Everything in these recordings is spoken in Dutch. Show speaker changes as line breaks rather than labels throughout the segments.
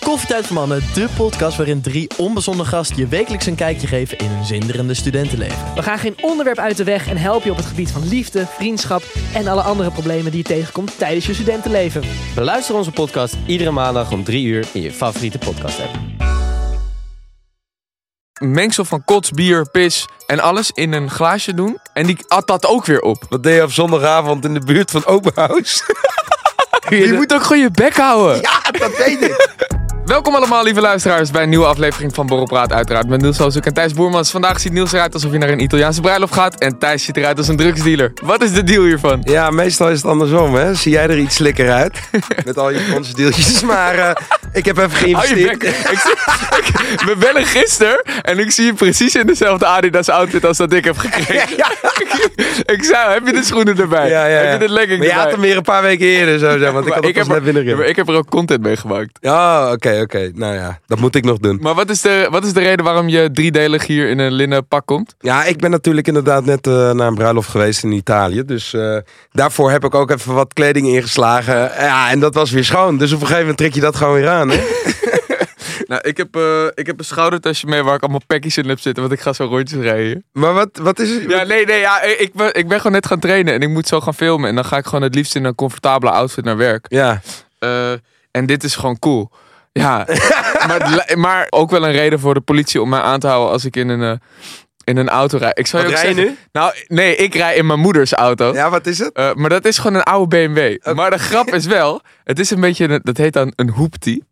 Koffietijd voor Mannen, de podcast waarin drie onbezonnen gasten je wekelijks een kijkje geven in hun zinderende studentenleven.
We gaan geen onderwerp uit de weg en helpen je op het gebied van liefde, vriendschap en alle andere problemen die je tegenkomt tijdens je studentenleven.
Beluister onze podcast iedere maandag om 3 uur in je favoriete podcast app.
Een mengsel van kots, bier, pis en alles in een glaasje doen. En die at dat ook weer op.
Wat deed je op zondagavond in de buurt van Open House?
Je moet ook gewoon je bek houden.
ja, dat weet ik.
Welkom allemaal, lieve luisteraars, bij een nieuwe aflevering van Borrelpraat. Uiteraard met Niels Hoosuk en Thijs Boermans. Vandaag ziet Niels eruit alsof hij naar een Italiaanse bruiloft gaat. En Thijs ziet eruit als een drugsdealer. Wat is de deal hiervan?
Ja, meestal is het andersom, hè? Zie jij er iets slikker uit? Met al je Franse deeltjes. Maar eh, ik heb even
Hou je bek.
geïnvesteerd.
Ik zie- ik- we bellen gisteren en ik zie je precies in dezelfde Adidas outfit als dat ik heb gekregen. ik zei, heb je de schoenen erbij?
Ja, ja, ja.
Heb je de legging
Maar je had
erbij?
hem weer een paar weken eerder, zo zeg. Want ik had
Maar
het
heb er,
pas net
ja, maar
binnengekomen.
ik heb er ook content mee gemaakt.
Ja, oké, oké. Nou ja, dat moet ik nog doen.
Maar wat is, de, wat is de reden waarom je driedelig hier in een linnen pak komt?
Ja, ik ben natuurlijk inderdaad net eh, naar een bruiloft geweest in Italië. Dus eh, daarvoor heb ik ook even wat kleding ingeslagen. Ja, en dat was weer schoon. Dus op een gegeven moment trek je dat gewoon weer aan, hè?
Nou, ik heb, eh, ik heb een schoudertasje mee waar ik allemaal packies in heb zitten, want ik ga zo rondjes rijden.
Maar wat, wat is het?
Ja, nee, nee, ja, ik, ik ben, ik ben gewoon net gaan trainen en ik moet zo gaan filmen. En dan ga ik gewoon het liefst in een comfortabele outfit naar werk.
Ja.
Eh, en dit is gewoon cool. Ja, maar, het li- maar ook wel een reden voor de politie om mij aan te houden als ik in een, eh, in een auto rijd. Ik zou
Wat
ook
rij je
zeggen-
nu?
Nou, nee, ik rij in mijn moeders auto.
ja, wat is het?
Eh, maar dat is gewoon een oude BMW. Maar de grap is wel, het is een beetje, een- dat heet dan een hoeptie.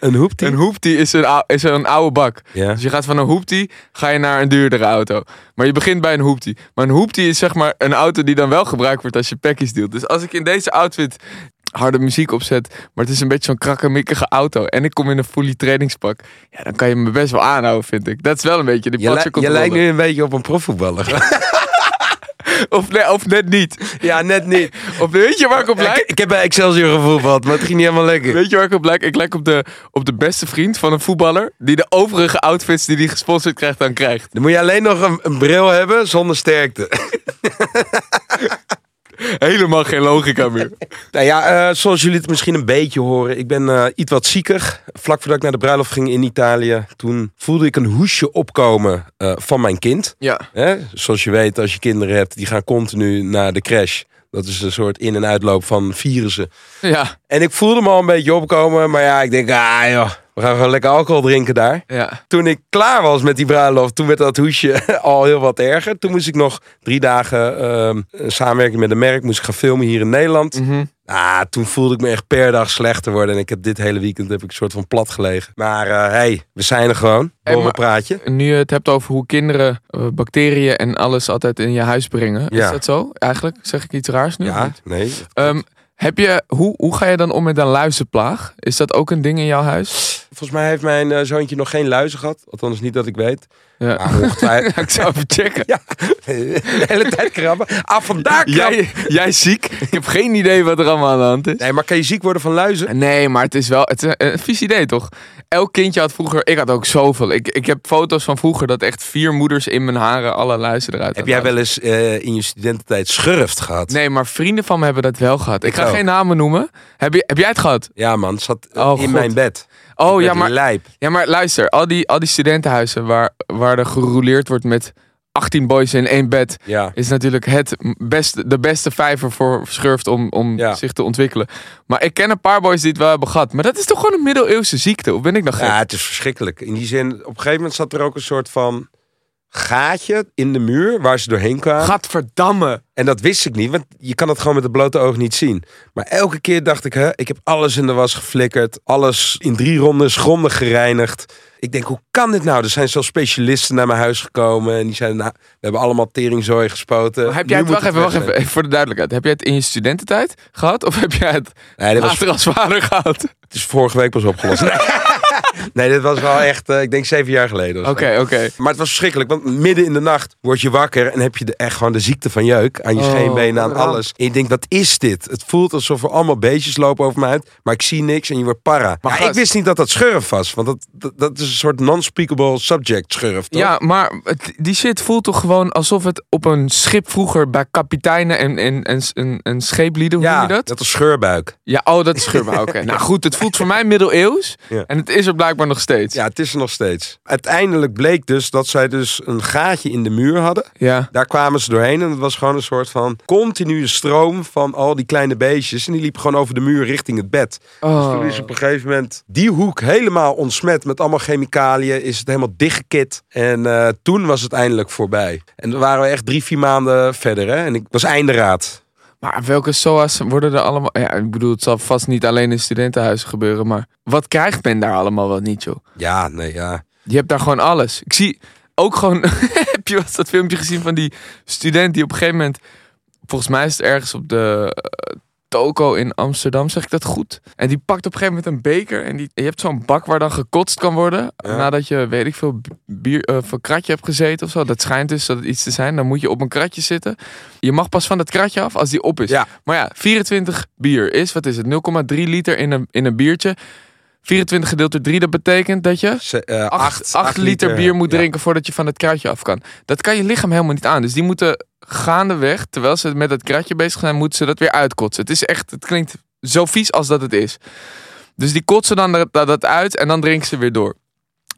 Een hoeptie.
Een hoeptie is een, ou- is een oude bak.
Ja.
Dus je gaat van een hoeptie, ga je naar een duurdere auto. Maar je begint bij een hoeptie. Maar een hoeptie is zeg maar een auto die dan wel gebruikt wordt als je packies deelt. Dus als ik in deze outfit harde muziek opzet, maar het is een beetje zo'n krakkemikkige auto. En ik kom in een fully trainingspak. Ja, dan kan je me best wel aanhouden, vind ik. Dat is wel een beetje de
Je, li- je
patsencontrole.
lijkt nu een beetje op een profvoetballer.
of, nee, of net niet.
ja, net niet.
Of weet je waar ik op
Ja,
lijk?
ik, ik heb bij Excelsior gevoetbald, maar het ging niet helemaal lekker.
Weet je waar ik op lijk? Ik lijk op de, op de beste vriend van een voetballer. Die de overige outfits die hij gesponsord krijgt, dan krijgt.
Dan moet je alleen nog een, een bril hebben zonder sterkte.
Helemaal geen logica meer.
Nou ja, eh, zoals jullie het misschien een beetje horen, ik ben eh, iets wat zieker. Vlak voordat ik naar de bruiloft ging in Italië, toen voelde ik een hoesje opkomen eh, van mijn kind.
Ja.
Hè? Zoals je weet, als je kinderen hebt, die gaan continu naar de crash. Dat is een soort in- en uitloop van virussen.
Ja.
En ik voelde me al een beetje opkomen, maar ja, ik denk, ah joh, we gaan gewoon lekker alcohol drinken daar.
Ja.
toen ik klaar was met die bruiloft, toen werd dat hoesje al heel wat erger. Toen moest ik nog drie dagen ehm, een samenwerking met een merk, moest ik gaan filmen hier in Nederland.
Mhm.
Ah, toen voelde ik me echt per dag slechter worden. En ik heb dit hele weekend heb ik een soort van plat gelegen. Maar hé, hey, we zijn er gewoon.
Hey, maar-
Borrel praatje.
Nu je het hebt over hoe kinderen eh, bacteriën en alles altijd in je huis brengen. Is
Ja.
dat zo eigenlijk? Zeg ik iets raars nu? of
Ja,
niet?
nee.
Ehm, heb je, hoe, hoe ga je dan om met een luizenplaag? Is dat ook een ding in jouw huis?
Volgens mij heeft mijn eh, zoontje nog geen luizen gehad. Althans, niet dat ik weet.
Ja.
Ah, ongetwijfeld.
Ik zou even checken.
ja, de hele tijd krabben. Ah, vandaag krabben.
Jij, jij is ziek? Ik heb geen idee wat er allemaal aan de hand is.
Nee, maar kan je ziek worden van luizen?
Nee, maar het is wel het is een, een vies idee, toch? Elk kindje had vroeger... Ik had ook zoveel. Ik, ik heb foto's van vroeger dat echt vier moeders in mijn haren alle luizen eruit
Heb
hadden.
jij wel eens eh, in je studententijd schurft gehad?
Nee, maar vrienden van me hebben dat wel gehad. Ik,
Ik
ga
ook.
geen namen noemen. Heb, je, heb jij het gehad?
Ja, man, het zat eh,
Oh,
in
God.
mijn bed. Ik
Oh,
werd
ja maar,
Lijp.
ja, maar luister. Al die, al die studentenhuizen waar, waar er gerouleerd wordt met 18 boys in één bed...
Ja.
is natuurlijk het beste, de beste vijver voor schurft om, om
Ja.
zich te ontwikkelen. Maar ik ken een paar boys die het wel hebben gehad. Maar dat is toch gewoon een middeleeuwse ziekte? Of ben ik nog gek?
ja, het is verschrikkelijk. In die zin, op een gegeven moment zat er ook een soort van gaatje in de muur waar ze doorheen kwamen.
Gadverdamme.
En dat wist ik niet, want je kan het gewoon met het blote oog niet zien. Maar elke keer dacht ik, hè, ik heb alles in de was geflikkerd. Alles in drie rondes grondig gereinigd. Ik denk, hoe kan dit nou? Er zijn zelfs specialisten naar mijn huis gekomen. En die zeiden, nou, we hebben allemaal teringzooi gespoten.
Maar heb jij
Nu
het,
moet
wacht even, wacht
weg
even,
zijn.
even voor de duidelijkheid. Heb jij het in je studententijd gehad? Of heb jij het Ah,
Nee, dat was,
later als vader gehad?
het is vorige week pas opgelost. Nee. Nee, dit was wel echt, eh, ik denk zeven jaar geleden. of zo.
Oké, oké.
Maar het was verschrikkelijk, want midden in de nacht word je wakker en heb je de, echt gewoon de ziekte van jeuk. Aan je
Oh,
scheenbenen, aan
wat een ramp.
alles. En je denkt, wat is dit? Het voelt alsof er allemaal beestjes lopen over me uit, maar ik zie niks en je wordt para.
Maar
Maar ik
gast-
wist niet dat dat schurf was, want dat, dat, dat is een soort non-speakable subject schurf, toch?
Ja, maar het- die shit voelt toch gewoon alsof het op een schip vroeger bij kapiteinen en, en, en, en, en scheeplieden, hoe
Ja,
noem je dat?
dat is scheurbuik.
Ja, oh, dat is schurma, oké. Nou goed, het voelt voor mij middeleeuws
Ja.
en het is er blijkbaar nog steeds.
Ja, het is er nog steeds. Uiteindelijk bleek dus dat zij dus een gaatje in de muur hadden.
ja.
Daar kwamen ze doorheen en het was gewoon een soort van continue stroom van al die kleine beestjes. En die liepen gewoon over de muur richting het bed.
Oh.
Dus toen is op een gegeven moment die hoek helemaal ontsmet met allemaal chemicaliën. Is het helemaal dichtgekit. En eh, toen was het eindelijk voorbij. En dan waren we echt drie, vier maanden verder. Hè? En ik was einderaad.
Maar welke SOA's worden er allemaal... Ja, ik bedoel, het zal vast niet alleen in studentenhuizen gebeuren, maar wat krijgt men daar allemaal wel niet, joh?
Ja, nee, ja.
Je hebt daar gewoon alles. Ik zie ook gewoon. heb je wel eens dat filmpje gezien van die student die op een gegeven moment. Volgens mij is het ergens op de eh, toko in Amsterdam, zeg ik dat goed? En die pakt op een gegeven moment een beker. En die, je hebt zo'n bak waar dan gekotst kan worden.
Ja.
Nadat je, weet ik veel, b- bier, eh, of een kratje hebt gezeten of zo. Dat schijnt dus dat het iets te zijn. Dan moet je op een kratje zitten. Je mag pas van dat kratje af als die op is.
Ja.
Maar ja, 24 bier is, wat is het? 0,3 liter in een, in een biertje. 24 gedeeld door 3, dat betekent dat je...
8
8, liter, bier moet drinken voordat je van het kratje af kan. Dat kan je lichaam helemaal niet aan. Dus die moeten gaandeweg, terwijl ze met dat kratje bezig zijn, moeten ze dat weer uitkotsen. Het is echt, het klinkt zo vies als dat het is. Dus die kotsen dan dat, dat uit en dan drinken ze weer door.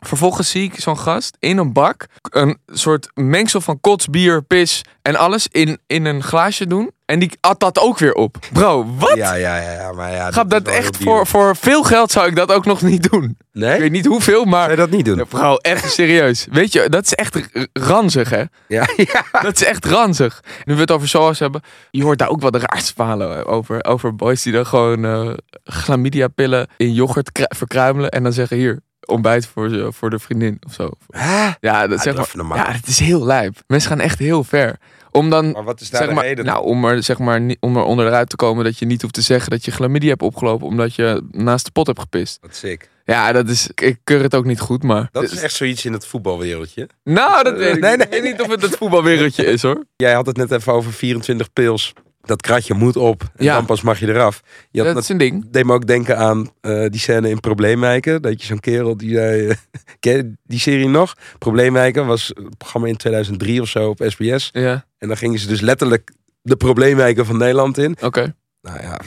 Vervolgens zie ik zo'n gast in een bak een soort mengsel van kots, bier, pis en alles in, in een glaasje doen. En die at dat ook weer op. Bro, wat?
Ja, ja, ja, ja, maar ja.
Grap,
is
dat
wel heel
echt
duur.
voor, voor veel geld zou ik dat ook nog niet doen.
Nee?
Ik weet niet hoeveel, maar...
Zou je dat niet doen?
Ja, vrouw, echt serieus. Weet je, dat is echt r- ranzig, hè?
Ja, ja.
Dat is echt ranzig. Nu we het over SOAS hebben, je hoort daar ook wel de raarste verhalen eh, over. Over boys die dan gewoon eh chlamydia-pillen in yoghurt kru- verkruimelen. En dan zeggen, hier, ontbijt voor, ze- voor de vriendin of zo.
Hè?
Ja, dat, zeg
doe
maar,
Ah, even normaal.
ja, het is heel lijp. Mensen gaan echt heel ver. Om dan,
Maar wat is daar
zeg
de
maar,
reden?
nou, om er, zeg maar, niet- om er onderuit te komen dat je niet hoeft te zeggen dat je chlamydia hebt opgelopen. Omdat je naast de pot hebt gepist.
Wat sick.
Ja, dat is, ik keur het ook niet goed, maar...
Dat is echt zoiets in het voetbalwereldje.
Nou, dat weet ik
Nee,
niet.
nee,
Ik weet niet of het het voetbalwereldje is hoor.
Jij had het net even over 24 pils. Dat kratje moet op. En
Ja.
dan pas mag je eraf. Je had
Dat is een ding.
dat deed me ook denken aan eh, die scène in Probleemwijken. Dat je zo'n kerel die zei... eh, ken je die serie nog? Probleemwijken was een programma in 2003 of zo op SBS.
Ja,
En dan gingen ze dus letterlijk de probleemwijken van Nederland in.
oké.
nou ja,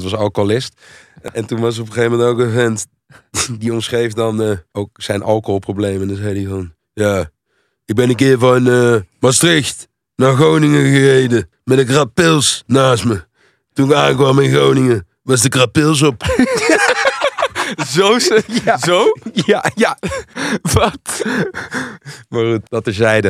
80% was alcoholist. En toen was op een gegeven moment ook een vent die omschreef dan eh, ook zijn alcoholproblemen. En dan zei hij van, ja, ik ben een keer van eh, Maastricht naar Groningen gereden met een krat pils naast me. Toen ik aankwam in Groningen was de krat pils op.
Zo? ze- Zo?
ja, ja.
Wat?
Maar goed, dat is zijde.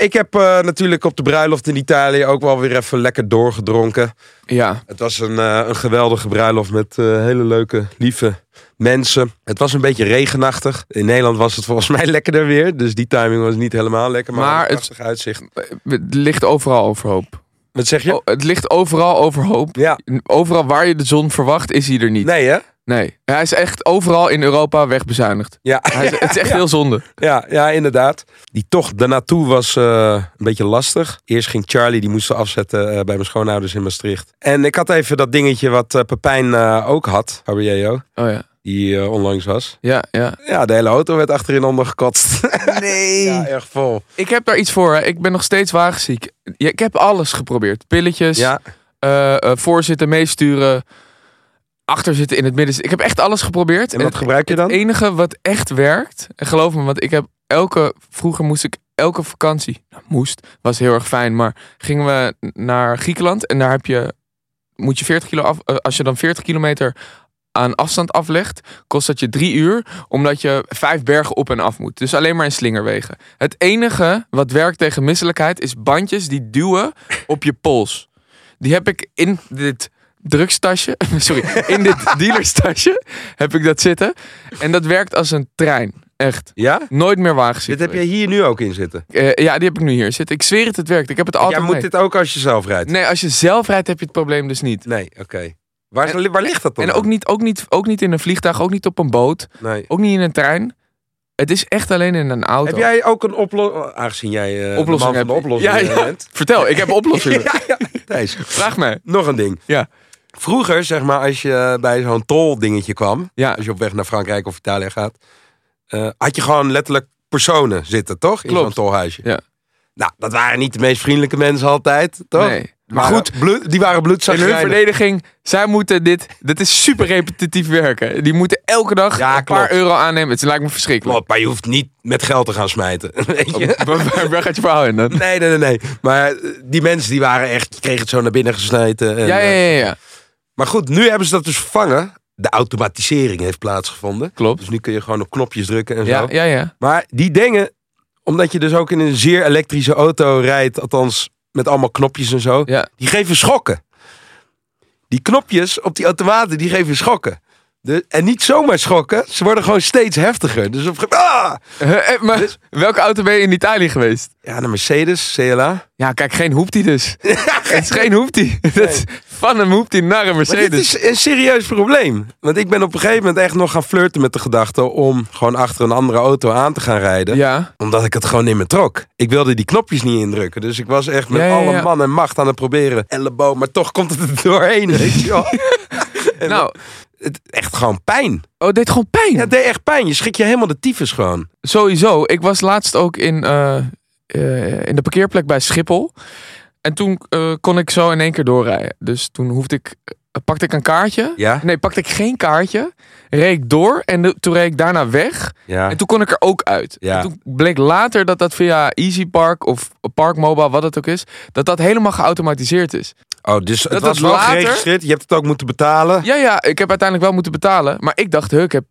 ik heb eh, natuurlijk op de bruiloft in Italië ook wel weer even lekker doorgedronken.
Ja,
Het was een, eh, een geweldige bruiloft met eh, hele leuke, lieve mensen. Het was een beetje regenachtig. In Nederland was het volgens mij lekkerder weer. Dus die timing was niet helemaal lekker. Maar,
Maar
maar een
het-
prachtig uitzicht.
het ligt overal overhoop.
Wat zeg je?
Oh, het ligt overal overhoop.
Ja.
Overal waar je de zon verwacht, is hij er niet.
Nee hè?
Nee. Hij is echt overal in Europa wegbezuinigd.
Ja,
Hij is, het is echt heel zonde.
ja, ja, inderdaad. Die tocht daarnaartoe was eh, een beetje lastig. Eerst ging Charlie, die moest ze afzetten eh, bij mijn schoonouders in Maastricht. En ik had even dat dingetje wat eh, Pepijn eh, ook had, Fabio,
Oh ja.
die eh, onlangs was.
Ja, ja.
Ja, de hele auto werd achterin ondergekotst.
Nee.
ja, erg vol.
Ik heb daar iets voor. Hè. Ik ben nog steeds wagenziek. Ja, ik heb alles geprobeerd. Pilletjes,
Ja,
eh, eh, voorzitten, meesturen, achterzitten, in het midden. zitten. Ik heb echt alles geprobeerd.
en wat
het-
gebruik je dan?
Het e- enige wat echt werkt, en geloof me, want ik heb elke, vroeger moest ik elke vakantie, nou, moest, was heel erg fijn, maar gingen we naar Griekenland en daar heb je, moet je 40 kilo af, eh, als je dan 40 kilometer aan afstand aflegt, kost dat je drie uur, omdat je vijf bergen op en af moet. Dus alleen maar in slingerwegen. Het enige wat werkt tegen misselijkheid is bandjes die duwen op je pols. Die heb ik in dit drugstasje, sorry, in dit dealerstasje heb ik dat zitten. En dat werkt als een trein. Echt.
Ja?
Nooit meer wagenziek.
Dit heb je hier nu ook in zitten.
Eh, ja, die heb ik nu hier zitten. Ik zweer het, het werkt. Ik heb het
Jij
altijd
moet
mee.
dit ook als je zelf rijdt.
Nee, als je zelf rijdt heb je het probleem dus niet.
Nee, oké. Waar, is- waar ligt dat dan?
En ook niet, ook, niet, ook niet in een vliegtuig, ook niet op een boot,
Nee.
ook niet in een trein. Het is echt alleen in een auto.
Heb jij ook een oplossing? Aangezien jij eh
Oplossing
de man van de
heb-
oplossing
Ja, ja.
bent.
Vertel, ik heb oplossingen.
Ja, ja. Thijs,
Vraag mij.
nog een ding.
Ja.
Vroeger, zeg maar, als je eh, bij zo'n tol dingetje kwam. nou,
Ja,
Als je op weg naar Frankrijk of Italië gaat. eh, had je gewoon letterlijk personen zitten, toch? In
Klopt.
zo'n tolhuisje.
Ja.
Nou, dat waren niet de meest vriendelijke mensen altijd, toch?
nee.
Maar goed, bloed, die waren
In hun
bloedzagrijnig.
verdediging, zij moeten dit. Dit is super repetitief werken. Die moeten elke dag
Ja,
een paar
klopt.
euro aannemen. Het lijkt me verschrikkelijk.
Klopt, maar je hoeft niet met geld te gaan smijten. Weet je?
Waar, waar- waar gaat je verhaal in dan?
Nee, nee, nee, nee. Maar eh, die mensen die waren echt, je kreeg het zo naar binnen gesneden. En,
Ja, ja,
eh,
ja, ja.
Maar goed, nu hebben ze dat dus vervangen. De automatisering heeft plaatsgevonden.
Klopt.
Dus nu kun je gewoon op knopjes drukken en zo.
Ja, ja, ja.
Maar die dingen, omdat je dus ook in een zeer elektrische auto rijdt, althans met allemaal knopjes en zo,
Ja.
die geven schokken. Die knopjes op die automaten, die geven schokken. De, en niet zomaar schokken, ze worden gewoon steeds heftiger. Dus op een gegeven moment, ah!
Eh, eh, maar welke auto ben je in Italië geweest?
Ja, de Mercedes, CLA.
Ja, kijk, geen hoeptie dus. Het is geen hoeptie. Dat is van een hoeptie naar een
Maar dit
Mercedes.
is een serieus probleem. Want ik ben op een gegeven moment echt nog gaan flirten met de gedachte om gewoon achter een andere auto aan te gaan rijden.
Ja,
Omdat ik het gewoon niet meer trok. Ik wilde die knopjes niet indrukken. Dus ik was echt met
Ja, ja,
alle
ja.
man en macht aan het proberen. Elleboog, maar toch komt het er doorheen. Weet je wel. En
nou,
het, echt gewoon pijn.
oh, het deed gewoon pijn.
Ja, het deed echt pijn. Je schrik je helemaal de tyfus gewoon.
Sowieso. Ik was laatst ook in, eh, eh, in de parkeerplek bij Schiphol. En toen eh, kon ik zo in één keer doorrijden. Dus toen hoefde ik, eh, pakte ik een kaartje.
Ja?
Nee, pakte ik geen kaartje. Reed ik door en de- toen reed ik daarna weg.
Ja.
En toen kon ik er ook uit.
Ja.
En toen bleek later dat dat via Easy Park of Park Mobile, wat het ook is, dat dat helemaal geautomatiseerd is.
Oh, dus het
Dat
was
het
wel
later-
geregistreerd. Je hebt het ook moeten betalen.
Ja, ja, ik heb uiteindelijk wel moeten betalen. Maar ik dacht, huh, ik heb,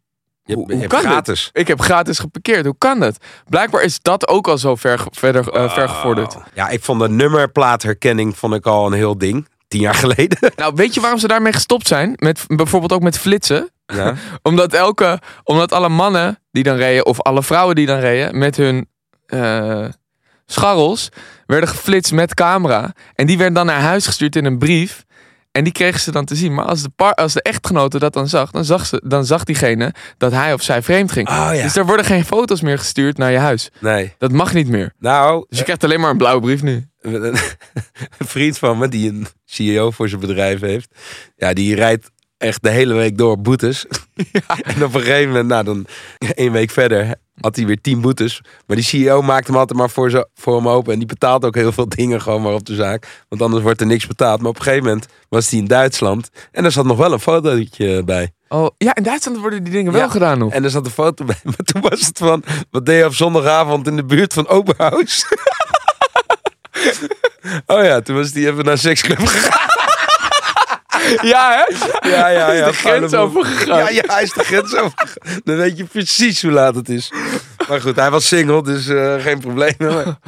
Je,
hoe,
je
hoe
hebt
kan dit?
gratis.
Ik heb gratis geparkeerd. Hoe kan dat? Blijkbaar is dat ook al zo ver, verder, eh,
Oh.
vergevorderd.
Ja, ik vond de nummerplaatherkenning vond ik al een heel ding. Tien jaar geleden.
Nou, weet je waarom ze daarmee gestopt zijn? Met bijvoorbeeld ook met flitsen.
Ja.
Omdat elke, omdat alle mannen die dan reden, of alle vrouwen die dan reden, met hun eh, scharrels werden geflitst met camera. En die werden dan naar huis gestuurd in een brief. En die kregen ze dan te zien. Maar als de, par, als de echtgenote dat dan zag, dan zag, ze, dan zag diegene dat hij of zij vreemd ging.
Oh ja.
Dus er worden geen foto's meer gestuurd naar je huis.
Nee.
Dat mag niet meer.
Nou,
Dus je krijgt alleen maar een blauwe brief nu.
een een vriend van me die een CEO voor zijn bedrijf heeft. Ja, die rijdt echt de hele week door boetes. En op een gegeven moment, nou dan één week verder, had hij weer tien boetes. Maar die CEO maakt hem altijd maar voor, zo, voor hem open. En die betaalt ook heel veel dingen gewoon maar op de zaak. Want anders wordt er niks betaald. Maar op een gegeven moment was hij in Duitsland. En er zat nog wel een fotootje bij.
Oh, ja, in Duitsland worden die dingen
Ja.
wel gedaan nog.
En er zat een foto bij. Maar toen was het van, wat deed je op zondagavond in de buurt van Oberhaus? oh ja, toen was die even naar seksclub gegaan.
Ja, hè?
Ja, ja, ja.
de grens
Paardenboel.
overgegaan.
Ja, ja, hij is de grens overgegaan. Dan weet je precies hoe laat het is. Maar goed, hij was single, dus eh, geen probleem. Maar-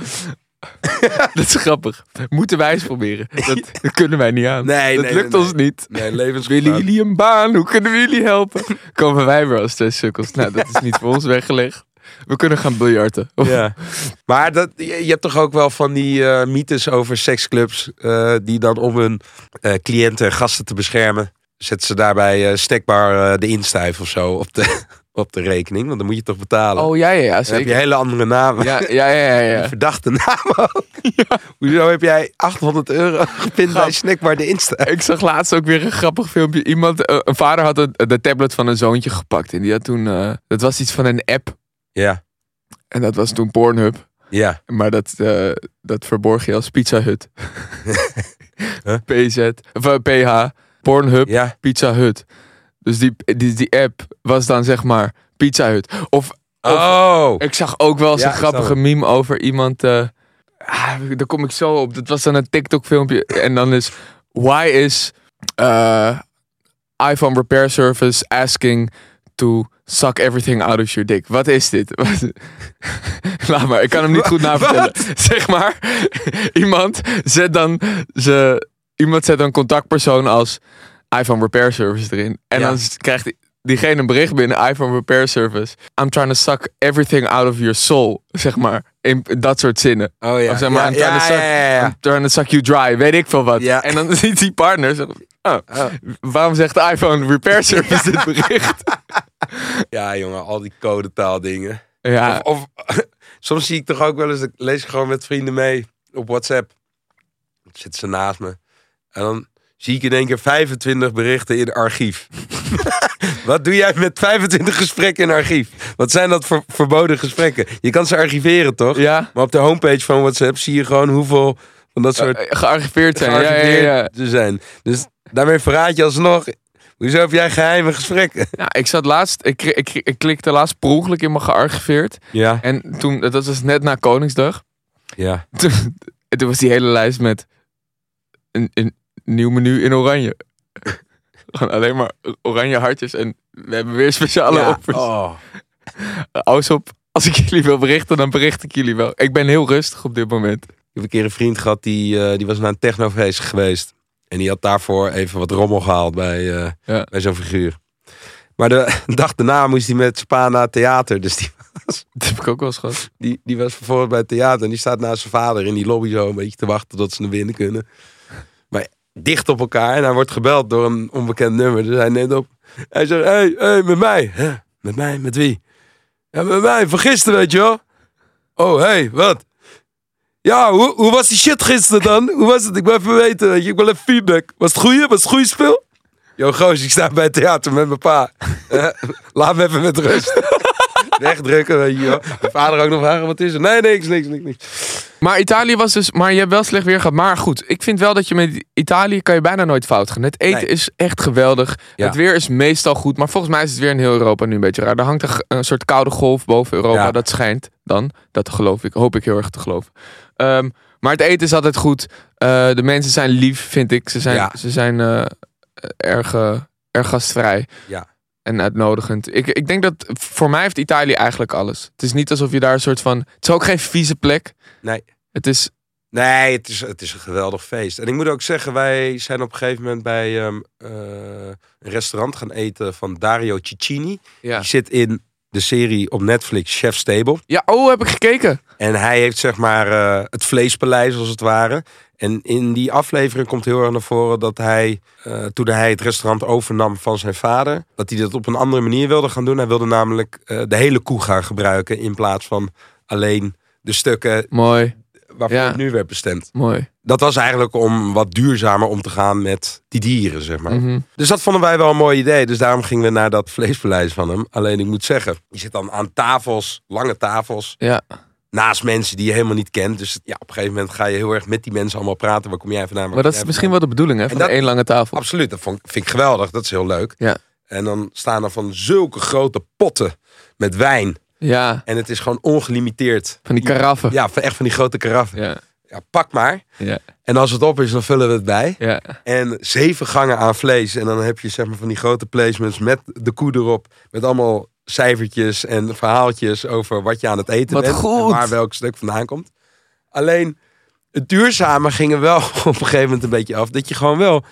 Dat is grappig. Moeten wij eens proberen. Dat, dat kunnen wij niet aan.
Nee,
dat
nee,
lukt
nee,
ons niet.
Nee,
Willen
levensgevaar.
jullie een baan? Hoe kunnen we jullie helpen? Komen wij weer als twee sukkels? Nou, dat is niet voor ons weggelegd. We kunnen gaan biljarten. Of-
Ja. Maar dat, je, je hebt toch ook wel van die eh, mythes over seksclubs eh, die dan om hun eh, cliënten en gasten te beschermen, zetten ze daarbij eh stekbaar eh, de instuif of zo op de, op de rekening. Want dan moet je toch betalen.
Oh ja, ja, ja,
dan heb
zeker.
je hele andere namen.
Ja, ja, ja, ja. ja.
Verdachte namen ook. Hoezo heb jij 800 euro gepind bij snackbar de Insta?
Ik zag laatst ook weer een grappig filmpje. Iemand, eh, een vader had een- de tablet van een zoontje gepakt. En die had toen, eh, dat was iets van een app.
Ja,
En dat was toen Pornhub.
ja.
Maar dat, eh, dat verborg je als Pizza Hut.
Huh?
PZ, of eh, PH, Pornhub,
Ja,
Pizza Hut. Dus die, die, die app was dan zeg maar Pizza Hut. Of
oh.
ik zag ook wel eens
Ja,
een grappige
snap
meme over iemand. eh, ah, daar kom ik zo op. Dat was dan een TikTok filmpje. En dan is, why is eh, iPhone repair service asking to suck everything out of your dick? Wat is dit? Wat- Laat maar, ik kan hem niet goed navertellen. Zeg maar, iemand zet dan, ze, iemand zet dan contactpersoon als iPhone repair service erin. En
Ja.
dan s- krijgt die- diegene een bericht binnen iPhone repair service. I'm trying to suck everything out of your soul, zeg maar. in dat soort zinnen.
Oh ja.
Of zeg maar,
ja,
I'm
ja,
trying to suck-
ja, ja, ja.
I'm trying to suck you dry, weet ik veel wat.
Ja.
En dan ziet die partner, zo, oh, waarom zegt de iPhone repair service dit bericht?
Ja, jongen, al die codetaaldingen.
Ja,
Of, of soms zie ik toch ook wel eens, dat lees ik gewoon met vrienden mee op WhatsApp. Dan zitten ze naast me. En dan zie ik in één keer 25 berichten in archief. Wat doe jij met 25 gesprekken in archief? Wat zijn dat voor verboden gesprekken? Je kan ze archiveren, toch?
ja.
Maar op de homepage van WhatsApp zie je gewoon hoeveel van dat soort
Eh, Gearchiveerd zijn. Ja, ja,
gearchiveerd
ja, ja.
te zijn. Dus daarmee verraad je alsnog. Hoezo heb jij geheime gesprekken?
Nou, ik zat laatst, ik, ik, ik, ik klikte laatst per ongeluk in mijn gearchiveerd.
Ja,
En toen, dat was dus net na Koningsdag.
ja.
Toen, en toen was die hele lijst met een, een nieuw menu in oranje. Gewoon alleen maar oranje hartjes. En we hebben weer speciale
ja.
offers.
Oh.
Aus Eh, op, als ik jullie wil berichten, dan bericht ik jullie wel. Ik ben heel rustig op dit moment.
Ik heb een keer een vriend gehad die, eh, die was naar een technofeest geweest. En die had daarvoor even wat rommel gehaald bij, eh,
Ja.
bij zo'n figuur. Maar de dag daarna moest hij met Spa naar het theater. Dus die,
Dat heb ik ook wel eens gehad.
die, die was vervolgens bij het theater. En die staat naast zijn vader in die lobby zo een beetje te wachten tot ze naar binnen kunnen. Maar dicht op elkaar. En hij wordt gebeld door een onbekend nummer. Dus hij neemt op. Hij zegt, hé, hey, hey, met mij. Huh? Met mij? Met wie? Ja, met mij. Van gisteren, weet je wel. Oh, hé, hey, wat? Ja, hoe, hoe was die shit gisteren dan? Hoe was het? Ik wil even weten, weet je. Ik wil even feedback. Was het goeie? Was het goeie speel? Yo, goos, ik sta bij het theater met mijn pa. Eh, Laat me even met rust. Wegdrukken, weet je wel. Mijn vader ook nog vragen, wat is er? Nee, niks, niks, niks, niks.
Maar Italië was dus. Maar je hebt wel slecht weer gehad. Maar goed, ik vind wel dat je met Italië kan je bijna nooit fout gaan. Het eten
Nee.
is echt geweldig.
Ja.
Het weer is meestal goed. Maar volgens mij is het weer in heel Europa nu een beetje raar. Er hangt een, g- een soort koude golf boven Europa.
Ja.
Dat schijnt dan. Dat geloof ik. Hoop ik heel erg te geloven. Ehm, maar het eten is altijd goed. Eh, de mensen zijn lief, vind ik. Ze zijn,
Ja.
ze zijn eh, erg, eh, erg gastvrij.
Ja.
En uitnodigend. Ik, ik denk dat voor mij heeft Italië eigenlijk alles. Het is niet alsof je daar een soort van. Het is ook geen vieze plek.
Nee.
Het is,
Nee, het is, het is een geweldig feest. En ik moet ook zeggen, wij zijn op een gegeven moment bij ehm, eh, een restaurant gaan eten van Dario Cicchini.
Ja.
Die zit in de serie op Netflix Chef's Table.
ja, oh, heb ik gekeken.
En hij heeft zeg maar eh, het vleespaleis als het ware. En in die aflevering komt heel erg naar voren dat hij, eh, toen hij het restaurant overnam van zijn vader, dat hij dat op een andere manier wilde gaan doen. Hij wilde namelijk eh, de hele koe gaan gebruiken in plaats van alleen de stukken
Mooi,
waarvoor
Ja.
het nu werd bestemd.
mooi.
Dat was eigenlijk om wat duurzamer om te gaan met die dieren, zeg maar.
Mhm.
Dus dat vonden wij wel een mooi idee. Dus daarom gingen we naar dat vleespaleis van hem. Alleen ik moet zeggen, je zit dan aan tafels, lange tafels
Ja,
naast mensen die je helemaal niet kent. Dus ja, op een gegeven moment ga je heel erg met die mensen allemaal praten. Waar kom jij vandaan? Waar
maar
kom
dat is
jij
misschien
vandaan?
wel de bedoeling, hè? Van
dat-
één lange tafel.
Absoluut, dat vond, vind ik geweldig. Dat is heel leuk.
Ja.
En dan staan er van zulke grote potten met wijn.
Ja,
En het is gewoon ongelimiteerd.
van die karaffen.
Ja, van- echt van die grote karaffen.
Ja,
Ja, pak maar.
ja,
En als het op is, dan vullen we het bij.
ja.
En zeven gangen aan vlees. En dan heb je zeg maar van die grote placements met de koe erop. Met allemaal cijfertjes en verhaaltjes over wat je aan het eten
Wat
bent. En
goed.
waar welk stuk vandaan komt. Alleen het duurzame ging er wel op een gegeven moment een beetje af. Dat je gewoon wel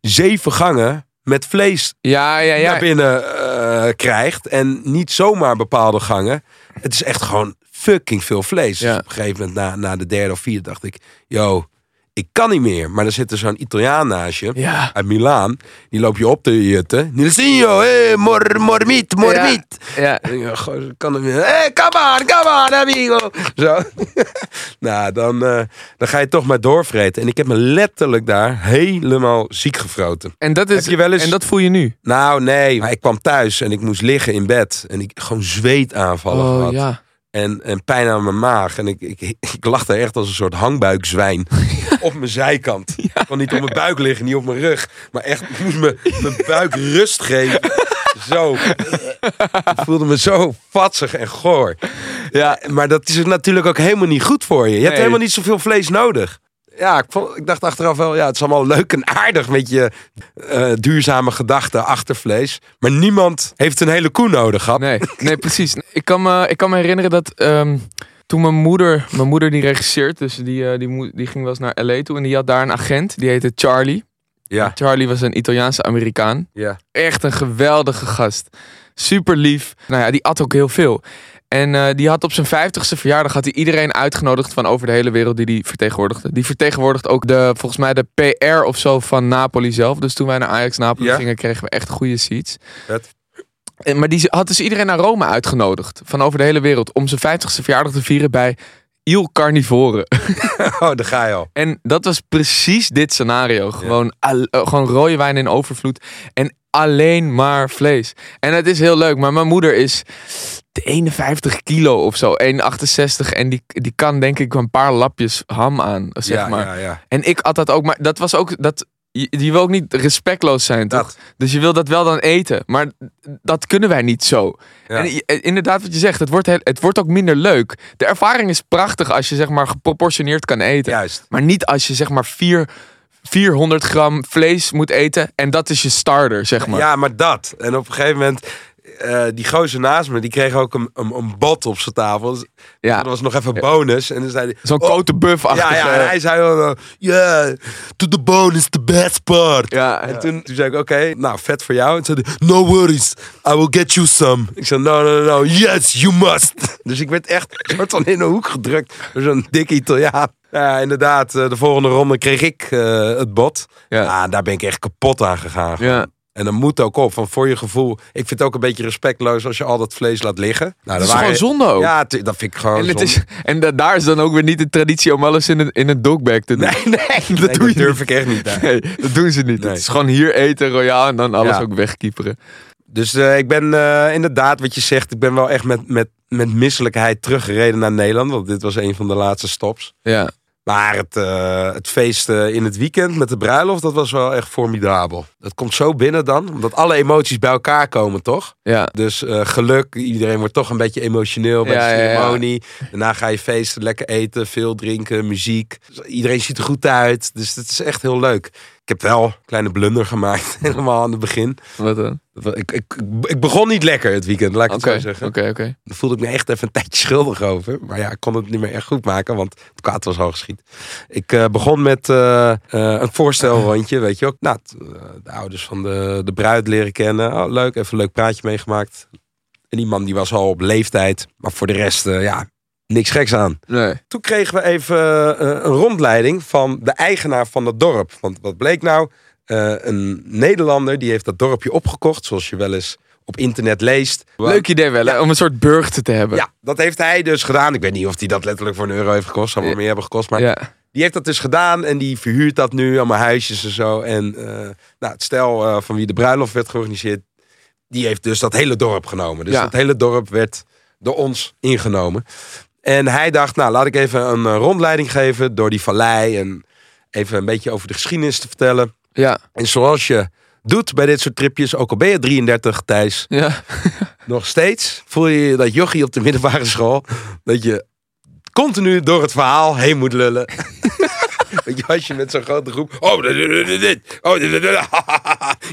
zeven gangen met vlees
Ja, ja, ja.
naar binnen eh, krijgt. En niet zomaar bepaalde gangen. Het is echt gewoon fucking veel vlees.
Ja.
Dus op een gegeven moment, na, na de derde of vierde, dacht ik... Yo, ik kan niet meer. Maar er zit er zo'n Italiaan naast je.
Ja.
Uit Milaan. Die loopt je op te jutten. Nilsinho, hé, mor, mormiet, mormiet.
Ja,
En ik dacht, goh, ik kan het niet. Hey, come on, come on, amigo. Zo. nou, dan, eh, dan ga je toch maar doorvreten. En ik heb me letterlijk daar helemaal ziek gefroten.
en dat, is,
Heb je wel eens-
en dat voel je nu.
Nou, nee. Maar ik kwam thuis en ik moest liggen in bed. En ik gewoon zweetaanvallen
Oh
gehad.
ja.
En, en pijn aan mijn maag. En ik, ik, ik lag daar echt als een soort hangbuikzwijn. op mijn zijkant. Ik kon niet op mijn buik liggen, niet op mijn rug. Maar echt, ik moest me, mijn buik rust geven. Zo. Ik voelde me zo vatsig en goor. Ja, maar dat is natuurlijk ook helemaal niet goed voor je. Je hebt
Nee.
helemaal niet zoveel vlees nodig. Ja, ik, vond- ik dacht achteraf wel, ja, het is allemaal leuk en aardig met je eh, duurzame gedachten achter vlees. Maar niemand heeft een hele koe nodig gehad.
Nee, nee precies. Ik kan me, ik kan me herinneren dat ehm, toen mijn moeder, mijn moeder die regisseert, dus die, eh, die, moe- die ging wel eens naar LA toe en die had daar een agent, die heette Charlie.
Ja,
Charlie was een Italiaanse Amerikaan.
ja.
Echt een geweldige gast. Super lief. Nou ja, die at ook heel veel. En eh, die had op zijn 50ste verjaardag had hij iedereen uitgenodigd van over de hele wereld die die vertegenwoordigde. Die vertegenwoordigt ook de, volgens mij de PR of zo van Napoli zelf. Dus toen wij naar Ajax Napoli
Ja.
gingen, kregen we echt goede seats.
Vet.
En, maar die had dus iedereen naar Rome uitgenodigd. Van over de hele wereld. Om zijn 50ste verjaardag te vieren bij Il Carnivore.
Oh, daar ga je al.
En dat was precies dit scenario. Gewoon, al- eh, gewoon rode wijn in overvloed. En alleen maar vlees. En het is heel leuk. Maar mijn moeder is 51 kilo of zo. 1,68. En die, die kan denk ik een paar lapjes ham aan. Zeg
ja,
maar.
ja, ja.
En ik at dat ook. Maar dat was ook... Dat, je, je wil ook niet respectloos zijn, toch?
Dat.
Dus je wil dat wel dan eten. Maar dat kunnen wij niet zo.
Ja.
En i- inderdaad wat je zegt. Het wordt, heel- het wordt ook minder leuk. De ervaring is prachtig als je zeg maar geproportioneerd kan eten.
Juist.
Maar niet als je zeg maar vier, 400 gram vlees moet eten. En dat is je starter, zeg maar.
Ja, maar dat. En op een gegeven moment, eh, die gozer naast me, die kreeg ook een, een, een bot op zijn tafel. Dus
Ja.
Dat was nog even bonus. En dan zei hij...
Zo'n
oh,
kote buff
Ja,
achter.
ja, en hij zei wel, eh, yeah, to the bone is the best part.
Ja,
En toen, toen zei ik, oké, nou, vet voor jou. En toen zei hij, no worries, I will get you some. Ik zei, no, no, no, no, yes, you must. Dus ik werd echt een soort van in een hoek gedrukt door zo'n dikke Italiaan. Ja, inderdaad, eh, de volgende ronde kreeg ik eh, het bot.
Ja.
Ja. daar ben ik echt kapot aan gegaan.
ja.
En dan moet ook op, van voor je gevoel. Ik vind het ook een beetje respectloos als je al dat vlees laat liggen. Nou,
Dat is gewoon zonde ook.
Ja, tu- dat vind ik gewoon
En, het
zonde.
is, en da- daar is dan ook weer niet de traditie om alles in een, in een dogbag te doen.
Nee, nee,
dat
nee,
doe je
durf ik echt niet. nee.
Nee, dat doen ze niet.
Nee.
Het is gewoon hier eten, royaal en dan alles
Ja.
ook wegkieperen.
Dus eh, ik ben eh, inderdaad, wat je zegt, ik ben wel echt met, met, met misselijkheid teruggereden naar Nederland. Want dit was een van de laatste stops.
Ja.
Maar het, eh, het feest eh, in het weekend met de bruiloft, dat was wel echt formidabel. Dat komt zo binnen dan, omdat alle emoties bij elkaar komen, toch?
Ja.
Dus eh, geluk, iedereen wordt toch een beetje emotioneel bij
Ja,
de
ja, ja.
ceremonie. Daarna ga je feesten, lekker eten, veel drinken, muziek. Dus iedereen ziet er goed uit, dus dat is echt heel leuk. Ik heb wel een kleine blunder gemaakt, helemaal aan het begin.
Wat dan?
Ik, ik, ik begon niet lekker het weekend, laat ik
Oké,
het zo
oké,
zeggen.
oké.
Daar voelde ik me echt even een tijdje schuldig over. Maar ja, ik kon het niet meer echt goed maken, want het kwaad was al geschiet. Ik eh, begon met eh, eh, een voorstelrondje, weet je ook. Nou, t- eh, de ouders van de, de bruid leren kennen. Oh, leuk, even een leuk praatje meegemaakt. En die man die was al op leeftijd, maar voor de rest, eh, ja, niks geks aan.
Nee.
Toen kregen we even eh, een rondleiding van de eigenaar van het dorp. Want wat bleek nou? Eh, een Nederlander die heeft dat dorpje opgekocht, zoals je wel eens op internet leest.
Leuk idee wel, hè? Om een soort burgte te hebben.
Ja, dat heeft hij dus gedaan. Ik weet niet of hij dat letterlijk voor een euro heeft gekost. Zou wel
Ja.
meer hebben gekost. Maar
Ja.
die heeft dat dus gedaan en die verhuurt dat nu. Allemaal huisjes en zo. En eh, nou, het stel eh, van wie de bruiloft werd georganiseerd... die heeft dus dat hele dorp genomen. Dus
Ja.
dat hele dorp werd door ons ingenomen. En hij dacht, nou, laat ik even een eh, rondleiding geven door die vallei... en even een beetje over de geschiedenis te vertellen.
Ja.
En zoals je doet bij dit soort tripjes, ook al ben je 33, Thijs...
Ja.
Nog steeds voel je dat jochie op de middelbare school... dat je continu door het verhaal heen moet lullen. weet je, als je met zo'n grote groep... Oh, dit, dit, dit, dit, oh, dit, dit, dit,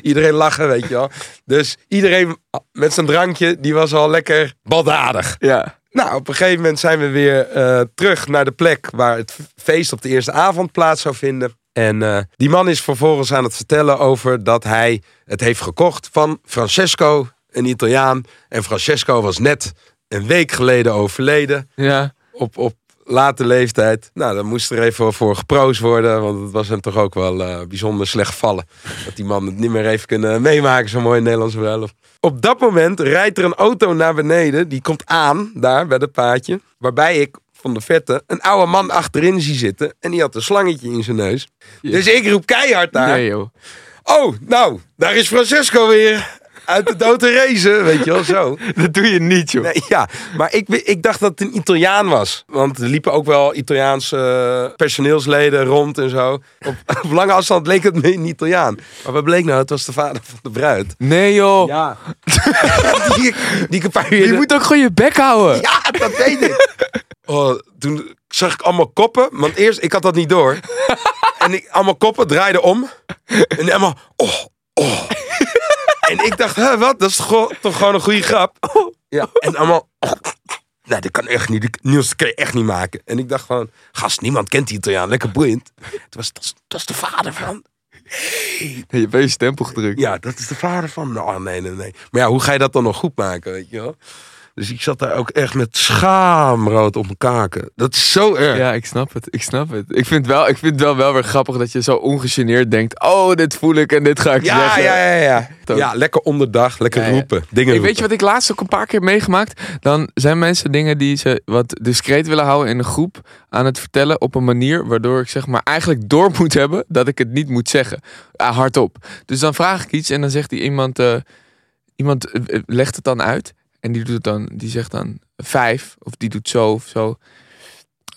Iedereen lachen, weet je wel. Dus iedereen met zijn drankje, die was al lekker baldadig.
Ja.
Nou, op een gegeven moment zijn we weer eh, terug naar de plek... waar het feest op de eerste avond plaats zou vinden. En eh, die man is vervolgens aan het vertellen over dat hij het heeft gekocht van Francesco, een Italiaan. En Francesco was net een week geleden overleden
Ja.
op, op late leeftijd. Nou, dan moest er even voor geproost worden, want het was hem toch ook wel eh, bijzonder slecht vallen. Dat die man het niet meer heeft kunnen meemaken, zo'n mooie Nederlandse bruiloft. Op dat moment rijdt er een auto naar beneden, die komt aan, daar bij dat paadje, waarbij ik van de vette een oude man achterin zie zitten en die had een slangetje in zijn neus. Dus ik roep keihard naar.
Nee, joh.
Oh, nou, daar is Francesco weer. Uit de dood te racen, weet je wel, zo.
Dat doe je niet, joh.
Nee, ja, maar ik, wi- ik dacht dat het een Italiaan was. Want er liepen ook wel Italiaanse eh, personeelsleden rond en zo. Op, op lange afstand leek het me een Italiaan. Maar wat bleek nou? Het was de vader van de bruid.
Nee, joh.
Ja. die, ik- die ik een paar uur...
Je moet ook gewoon je bek houden.
Ja, dat weet ik. Oh, toen zag ik allemaal koppen. Want eerst, ik had dat niet door. En ik, allemaal koppen draaiden om. En allemaal, oh, oh. En ik dacht, hè, wat? Dat is toch, toch gewoon een goede grap? Ja. En allemaal, oh. nee, dat kan echt niet. Die nieuws kan je echt niet maken. En ik dacht gewoon, gast, niemand kent die Italiaan. Lekker boeiend. Toen was, dat, is, dat is de vader van
Je hebt wel je stempel gedrukt.
Ja, dat is de vader van. Nou, nee, nee, nee. Maar ja, hoe ga je dat dan nog goed maken, weet je wel? Dus ik zat daar ook echt met schaamrood op mijn kaken. Dat is zo erg.
Ja, ik snap het. Ik snap het. Ik vind, wel, ik vind het wel, wel weer grappig dat je zo ongegeneerd denkt. Oh, dit voel ik en dit ga ik
Ja,
zeggen.
ja, ja, ja. Ja,
Toon.
lekker onderdag, lekker
Ja, ja.
roepen. Dingen
Hey, weet je wat ik laatst ook een paar keer meegemaakt? Dan zijn mensen dingen die ze wat discreet willen houden in een groep aan het vertellen op een manier waardoor ik zeg maar eigenlijk door moet hebben dat ik het niet moet zeggen. Ah, hardop. Dus dan vraag ik iets en dan zegt die iemand, eh, iemand eh, eh, legt het dan uit en die, doet het dan, die zegt dan vijf of die doet zo of zo.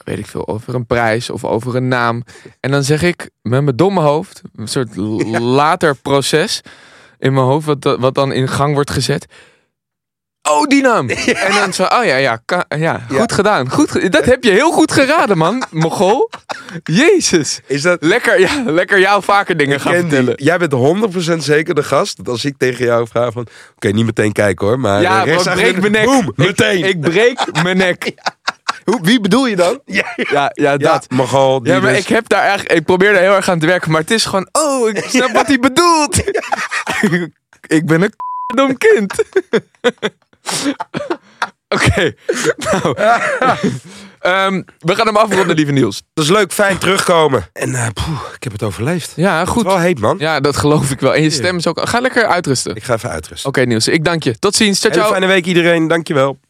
Weet ik veel, over een prijs of over een naam. En dan zeg ik met mijn domme hoofd, een soort l- later proces in mijn hoofd, wat, da- wat dan in gang wordt gezet. Oh, die naam! En dan zo, oh ja, ja, ka- ja goed gedaan. Goed ge- dat heb je heel goed geraden, man, Mogol. Jezus.
Is dat...
Lekker, ja, lekker jou vaker dingen gaan
Ken die.
vertellen.
Jij bent 100% zeker de gast. Dat als ik tegen jou vraag van... Oké, niet meteen kijken hoor. Maar
Ja,
eh,
want ik
rechtsachter-
breek mijn nek.
Boem, meteen.
Ik, ik breek mijn nek. Hoe, wie bedoel je dan?
ja,
Ja, ja dat.
Ja, Magal, die
Ja, maar
dus-
ik heb daar eigenlijk, ik probeer daar heel erg aan te werken, maar het is gewoon, oh, ik snap wat hij bedoelt. ik ben een dom kind. Oké, nou. Ehm, we gaan hem afronden, lieve Niels.
Dat is leuk, fijn terugkomen. En eh, poeh, ik heb het overleefd.
Ja,
Goed. Wel
goed.
heet man.
Ja, dat geloof ik wel. En je stem is ook, ga lekker uitrusten. Oké
Ik ga even uitrusten.
Niels, ik dank je. Tot ziens. Ciao,
Hele
ciao.
fijne week iedereen. Dankjewel.